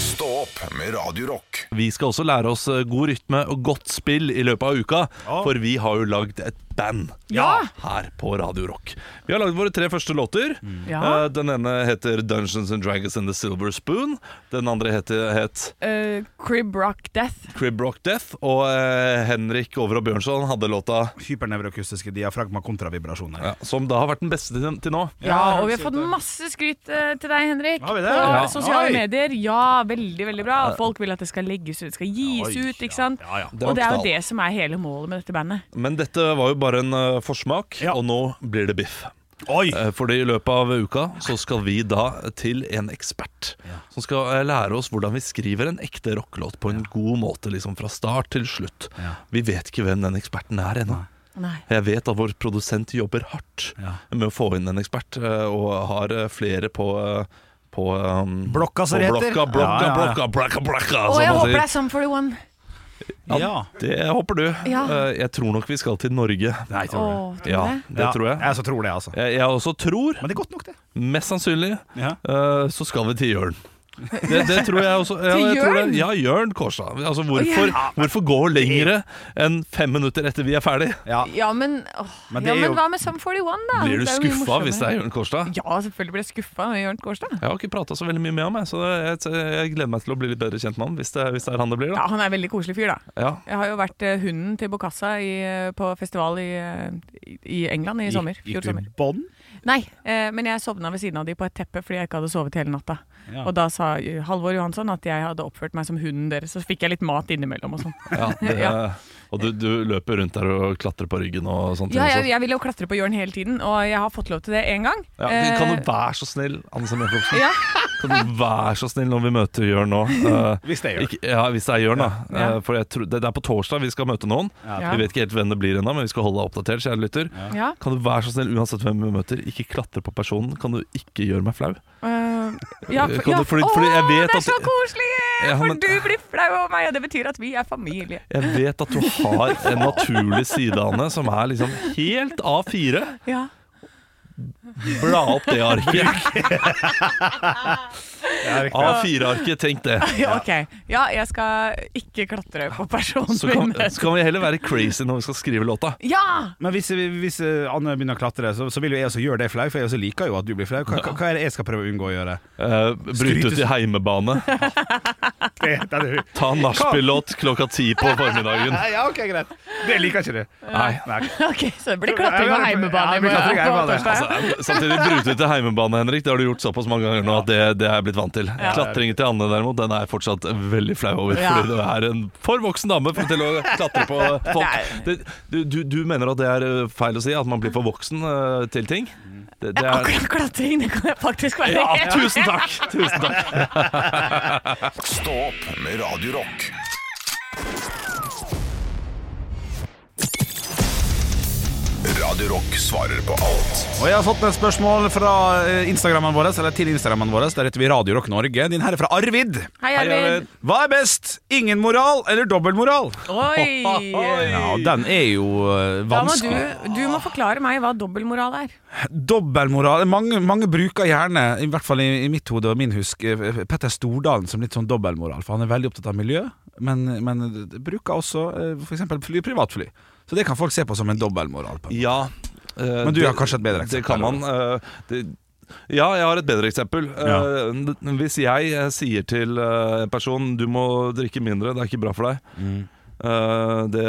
Stå opp med Radio Rock. Vi skal også lære oss eh, god rytme og godt spill i løpet av uka, for vi har jo lagd et band Ja. her på Radio Rock. Vi har lagd våre tre første låter. Ja. Eh, Den ene heter Dungeons and Dragons and the Silver Spoon. Den andre heter, het Eh, crib Rock Death. Crib Rock Death, og eh, Henrik Over og Bjørnson hadde låta Hypernevroakustiske diafragma kontravibrasjoner. ja, som da har vært den beste til, til nå. Ja, og vi har fått masse skryt eh, til deg, Henrik, Har vi det? på Ja. sosiale Oi. medier. Ja, veldig, veldig bra. Og Folk vil at det skal legges ut, skal gis ut, ikke sant? Det var og det er knall. jo det som er hele målet med dette bandet. Men dette var jo bare en eh, forsmak, Ja. og nå blir det biff. Oi! Eh, Fordi i løpet av uka så skal vi da til en ekspert som skal eh, lære oss hvordan vi skriver en ekte rockelåt på en god måte, liksom fra start til slutt. Vi vet ikke hvem den eksperten er ennå. Nei. Jeg vet at vår produsent jobber hardt Ja. med å få inn en ekspert, eh, og har eh, flere på eh, på um, Blokka, som på det heter. Blokka, blokka, Ja, ja, ja. blokka, blokka, blokka, Og som jeg Altså, man håper sier. det er Sum 41. Ja. Det håper du. Ja. Eh, Jeg tror nok vi skal til Norge. Nei, Å, tror du. tror du Ja, det? det tror jeg. Jeg så tror det, altså. Jeg, jeg også tror, Men det er godt nok, det. mest sannsynlig, Ja. eh, så skal vi til Jørn. Det, det tror jeg også. Ja, Til jeg tror Jørn? det. Ja, Jørn Kårstad. Altså, hvorfor, hvorfor gå lengre enn fem minutter etter vi er ferdig? Ja, men, åh, Men det ja, er men jo- hva med Sum 41, da? Blir du Det er jo mye skuffa hvis morsommere. det er Jørn Kårstad? Ja, selvfølgelig blir jeg skuffa når Jørn Kårstad. Jeg har ikke prata så veldig mye med ham, jeg, så jeg, jeg gleder meg til å bli litt bedre kjent med ham. Hvis det, hvis det er han det blir, Ja, da. han er en veldig koselig fyr, da. Ja. Jeg har jo vært eh, hunden til Bokassa i, eh, på festival i, eh, i i England i sommer. Gikk Fjor du i sommer. bånd? Nei, eh, men jeg sovna ved siden av de på et teppe fordi jeg ikke hadde sovet hele natta. Ja. Og da sa eh, Halvor Johansson at jeg hadde oppført meg som hunden deres, så fikk jeg litt mat innimellom og sånn. Ja, det, Ja. Og du, du løper rundt der og klatrer på ryggen og sånt. Ja, jeg, jeg vil jo klatre på Jørn hele tiden, og jeg har fått lov til det én gang. Ja, kan Eh, du være så snill, Anne Sem Jacobsen? ja. Kan du være så snill når vi møter Jørn nå? Eh, Hvis det gjør. Ikke, ja, hvis det er Jørn, da. Ja. Eh, For jeg tror, det, det er på torsdag vi skal møte noen. Ja. Vi vet ikke helt hvem det blir ennå, men vi skal holde deg oppdatert. kjære lytter. ja. Kan du være så snill, uansett hvem vi møter, ikke klatre på personen? Kan du ikke gjøre meg flau? Eh, ja, Kan for, du- ja. fordi- fordi jeg Åh, vet det er at- så koselig! Ja, for men- du blir flau over meg, og det betyr at vi er familie. Jeg vet at du har en naturlig side, Anne, som er liksom helt A4. Ja. Bla opp det arket. Ja, riktig. A4-arket, tenk det. Ja, ok. Ja, jeg skal ikke klatre på personen Så kan, min. så kan vi heller være crazy når vi skal skrive låta. Ja! Men hvis, hvis eh, Anne begynner å klatre, så, så vil jo jeg også gjøre deg flau, for jeg også liker jo at du blir flau. Hva, hva, hva er det jeg skal prøve å unngå å gjøre? Eh, bryte ut i heimebane. Det, det er du. Ta nachspiel-låt klokka ti på formiddagen. Nei, ja, ok, greit. Det liker ikke du. Nei. Nei. Ok, så det blir klatring og heimebane. Ja, det blir klatring og heimebane. på torsdag. Altså, samtidig brute til heimebane, Henrik. Det har du gjort såpass mange ganger nå at det, det er jeg blitt vant til. Klatringen til Anne derimot, den er jeg fortsatt veldig flau over. Ja. Fordi du er en for voksen dame for til å klatre på folk. Det, du, du, du mener at det er eh, feil å si, at man blir for voksen eh, til ting? Det, det er Akkurat klatring, det kan jeg faktisk være ja, helt tusen takk! Tusen takk. Stå opp med Radio Rock. Radio Rock svarer på alt Og jeg har fått et spørsmål fra eh, Instagrammen vår, eller til Instagrammen vår. Der heter vi Radio Rock Norge. Din her er fra Arvid. Hei, Arvid. Hva er best? Ingen moral eller dobbeltmoral? Oi! Ja, den er jo eh, Da må du, vanskelig. du må forklare meg hva dobbeltmoral er. Dobbeltmoral mange, mange bruker gjerne, i hvert fall i, i mitt hode og min husk, eh, Petter Stordalen som litt sånn dobbeltmoral. For han er veldig opptatt av miljø, men, men bruker også f.eks. Fly, privatfly. Så det kan folk se på som en dobbeltmoral. på en måte. Ja. eh, Men du det- har kanskje et bedre Det eksempel, kan man. eh, det, ja, jeg har et bedre eksempel. Eh, Hvis jeg eh, sier til eh, en person Du må drikke mindre, det er ikke bra for deg. Mm. Eh, det,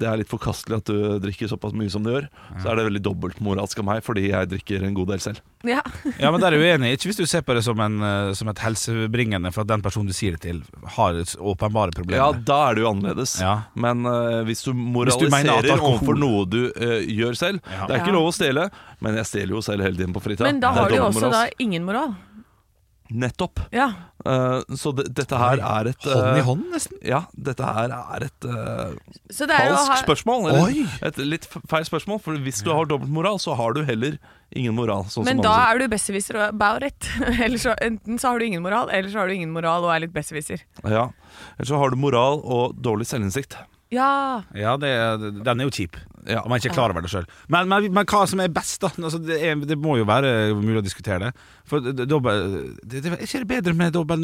det er litt forkastelig at du drikker såpass mye som du gjør. Så er det veldig dobbeltmoralsk av meg, fordi jeg drikker en god del selv. Ja. Ja, men der er jeg uenig. Ikke hvis du ser på det som, en, eh, som et helsebringende for at den personen du sier det til, har et åpenbare Ja, problemer. da er det jo annerledes. Ja. Men eh, hvis du du mener at moraliserer alkohol- overfor noe du eh, gjør selv Det er ikke Ja. lov å stjele, men jeg stjeler jo selv hele tiden på fritida. Men da Det er har du jo også da dobbeltmoralsk. ingen moral. Nettopp. Ja. Eh, så det, dette her er et eh, Hånd i hånd, nesten. Ja, dette her er et eh, Så det er jo å falsk ha spørsmål. Eller Oi! et litt f- feil spørsmål, for hvis du har dobbeltmoral, så har du heller ingen moral. Sånn Men som da alle er du besserwisser og about it. Eller så, enten så har du ingen moral, eller så har du ingen moral og er litt besserwisser. sier. Ja. Eller så har du moral og dårlig selvinnsikt. Ja. Ja, det, er- den er jo kjip. Ja. Om man ikke er klar over det sjøl. Men, men, men hva som er best, da? Altså, det, er, det må jo være mulig å diskutere det. For d- d- dobbel, det, det, er ikke det bedre med dobbel,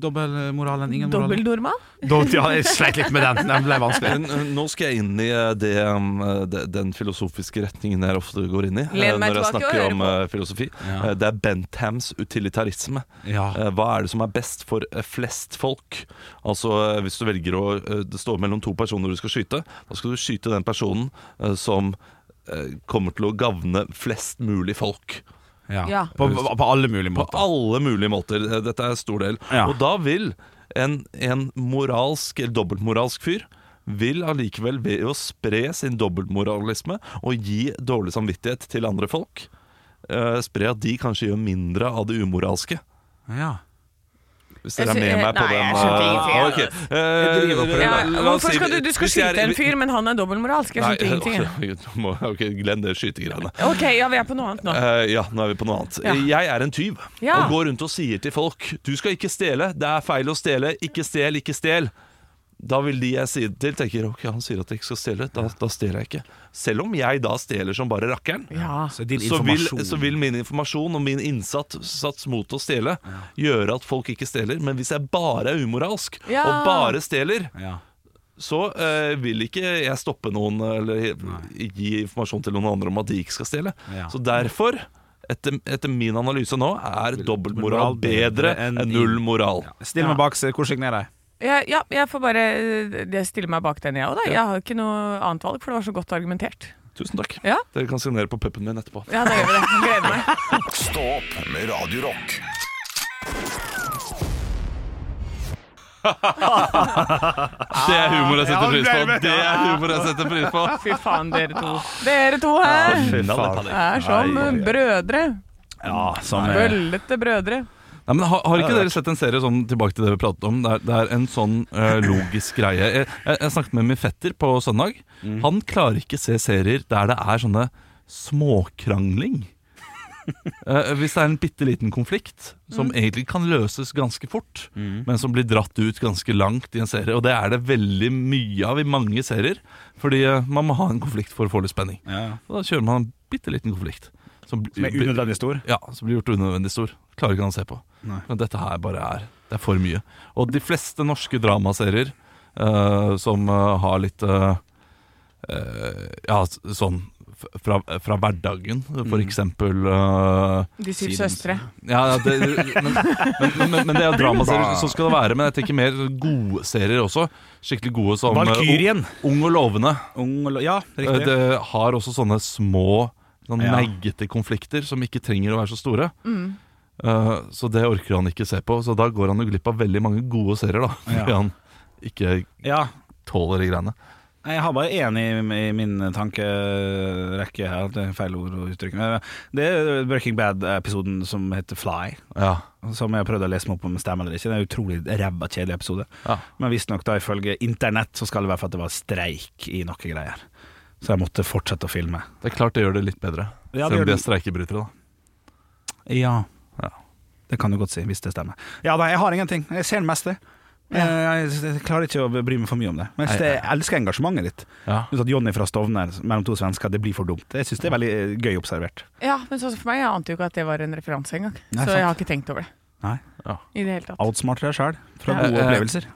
dobbelmoral enn ingen moral? Dobbeltnormal? Dobbelt, ja, jeg sleit litt med den. Den ble vanskelig. Men, eh, nå skal jeg inn i eh, det, eh, de- den filosofiske retningen jeg ofte går inn i eh, Len meg når jeg tilbake og snakker hør om på. eh, filosofi. Ja. Eh, Det er Benthams utilitarisme. Ja. Eh, Hva er det som er best for eh, flest folk? Altså eh, Hvis du velger å eh, Det står mellom to personer du skal skyte, da skal du skyte den personen eh, som eh, kommer til å gagne flest mulig folk. Ja. Ja. På, på alle mulige På måter. alle mulige måter. Eh, Dette er en stor del. Ja. Og da vil en, en moralsk eller dobbeltmoralsk fyr vil allikevel ved å spre sin dobbeltmoralisme og gi dårlig samvittighet til andre folk, eh, spre at de kanskje gjør mindre av det umoralske. Ja. Hvis dere er Jeg sy- med meg på nei, jeg den skjønte eh, ingenting av det. ok. Eh, driver og prøver. Ja, la- la oss hvorfor si- skal du, du skal hvis jeg er- skyte en fyr, men han er dobbeltmoralsk? Jeg Nei, altså. skjønte ingenting. jeg. du må- Ok, glem det skytegreiene. Ok, ja, vi er på noe annet nå. Eh, ja, nå er vi på noe annet. Ja. Jeg er en tyv Ja. og går rundt og sier til folk Du skal ikke stjele, det er feil å stjele, ikke stjel, ikke stjel. Da vil de jeg sier det til, tenker ok, han sier at jeg ikke skal stjele, da, da stjeler jeg ikke. Selv om jeg da stjeler som bare rakkeren. Ja. Så din Så vil, informasjon så vil min informasjon og min innsats sats mot å stjele gjøre at folk ikke stjeler. Men hvis jeg bare er umoralsk Ja. og bare stjeler, ja. så eh, vil ikke jeg stoppe noen eh, eller gi informasjon til noen andre om at de ikke skal stjele. Ja. Så derfor, etter, etter min analyse nå, er dobbeltmoral moral bedre bedre enn enn null moral. Still meg bak, se hvor signerer jeg? Ja, ja, jeg får bare eh, jeg stiller meg bak den, jeg òg, da. Jeg har ikke noe annet valg, for det var så godt argumentert. Tusen takk. Ja. Dere kan signere på puppen min etterpå. Ja, da gjør vi det. Jeg Gleder meg. Stå opp med Radio Rock. Det er humor jeg Ah, Ja, setter pris på! det er- Det er humor jeg setter pris på Fy faen, dere to. Dere to her er som brødre. Ja, som eh, er Bøllete brødre. Nei, men har, har ikke dere sett en serie sånn tilbake til det vi pratet om? Det er, det er en sånn eh, logisk greie. Jeg, jeg, jeg snakket med min fetter på søndag. Han klarer ikke se serier der det er sånne småkrangling. Eh, hvis det er en bitte liten konflikt som egentlig kan løses ganske fort, men som blir dratt ut ganske langt i en serie, og det er det veldig mye av i mange serier, fordi eh, man må ha en konflikt for å få litt spenning. ja. Og da kjører man en bitte liten konflikt. Som, blir- Med unødvendig stor. ja, som blir gjort unødvendig stor. Klarer ikke han å se på. Nei. Men dette her bare er Det er for mye. Og de fleste norske dramaserier eh, som eh, har litt eh, eh, Ja, s- sånn f- fra, fra hverdagen, for Mm. eksempel eh, De syv Siden- søstre. ja, ja, det, men, men, men, men det er jo dramaserier, så skal det være. Men jeg tenker mer gode serier også. Skikkelig gode som eh, Valkyrien. Ung og lovende. Ung og lo- Ja, Eh, riktig. Det har også sånne små, sånn Ja. meggete konflikter som ikke trenger å være så store. Eh, så det orker han ikke se på, så da går han jo glipp av veldig mange gode serier. da Fordi Ja. han ikke Ja, tåler de greiene. Nei, Jeg har bare én i, i min tankerekke her. Det er feil ord å uttrykke. Men Det er Breaking Bad-episoden som heter Fly. Ja. Som jeg har prøvd å lese meg opp om stemmer eller ikke. Det er en utrolig ræva kjedelig episode. Ja. Men visstnok da ifølge internett så skal det være for at det var streik i noe greier. Så jeg måtte fortsette å filme. Det er klart det gjør det litt bedre. Ja, det Selv gjør om de det. er streikebrytere, da. Ja. Ja. Det kan du godt si, hvis det stemmer. Ja da, jeg har ingenting. Jeg ser det meste. Eh, Jeg, jeg, jeg klarer ikke å bry meg for mye om det. Men jeg, jeg elsker engasjementet ditt. Ja. Du sa at Jonny fra Stovner mellom to svensker, det blir for dumt. Jeg syns det er veldig eh, gøy observert. Ja, men sånn som for meg, jeg ante jo ikke at det var en referanse engang. Nei, Så sant. jeg har ikke tenkt over det. Nei. I det hele tatt. Outsmarter deg sjæl fra Ja. gode Eh, eh. opplevelser.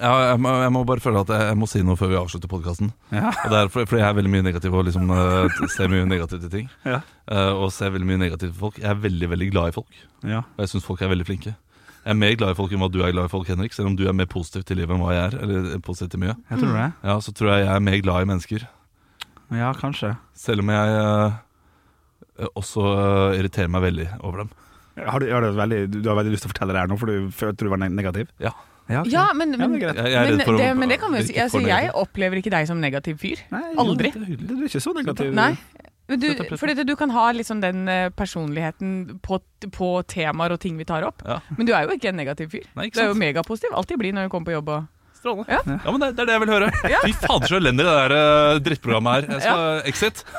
Ja, jeg, må, jeg må bare føle at jeg, jeg må si noe før vi avslutter podkasten. Ja. Og det er fordi, fordi jeg er veldig mye negativ og liksom eh, ser mye negativt til ting. Ja. Eh, og ser veldig mye negativt til folk. Jeg er veldig, veldig glad i folk. Ja. Og jeg syns folk er veldig flinke. Jeg er mer glad i folk enn hva du er glad i folk, Henrik. Selv om du er mer positiv til livet enn hva jeg er. Eller positiv til mye Jeg tror det. Ja, Så tror jeg jeg er mer glad i mennesker. Ja, kanskje. Selv om jeg eh, også eh, irriterer meg veldig over dem. Har du, har du, veldig, du har veldig lyst til å fortelle det her nå, for du følte du var neg- negativ? Ja, Ja, ok. Ja, men, Ja, men, det er greit. jeg, jeg er men, redd for det, å men det kan vi jo virke si. Altså, for jeg negativ. opplever ikke deg som negativ fyr. Nei, Aldri. Du, du er ikke så negativ. Nei. Men Dette er Du, prøvd. for dette, du kan ha liksom den eh, personligheten på, på temaer og ting vi tar opp, Ja. men du er jo ikke en negativ fyr. Nei, ikke du er jo sant? megapositiv. Alltid blid når du kommer på jobb. Og... Strålende. Ja. Ja. men det, det er det jeg vil høre. Fy fader, så elendig det der eh, drittprogrammet her. Jeg skal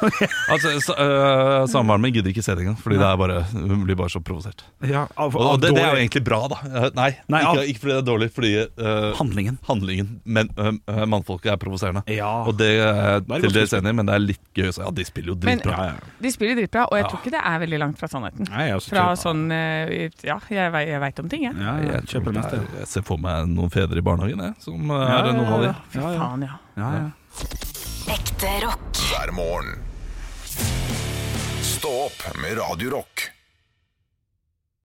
exit. Altså, sa- eh, Samboeren min gidder ikke se det engang, fordi det er bare, hun blir bare så provosert. Ja, av, Og, av og det, det er jo dårlig- egentlig bra, da. Eh, Nei, Nei, ikke, av- ikke fordi det er dårlig, fordi eh, handlingen. handlingen Men eh, mannfolket er provoserende. Ja. Og det eh, godt til deres enig, men det er litt gøy å si. Ja, de spiller jo Men dritbra. ja. de spiller dritbra, og jeg tror ikke det er veldig langt fra sannheten. Nei, jeg også Fra tror- sånn eh, Ja, jeg, vei- jeg veit om ting, jeg. Ja, ja, Jeg, tror kjøper det mest, er, jeg. jeg ser for meg noen fedre i barnehagen, jeg, som eh, Ja, er ja, noen av de. Fy faen, ja. Ja, ja. Ekte rock. hver morgen. Stå opp med Radio Rock.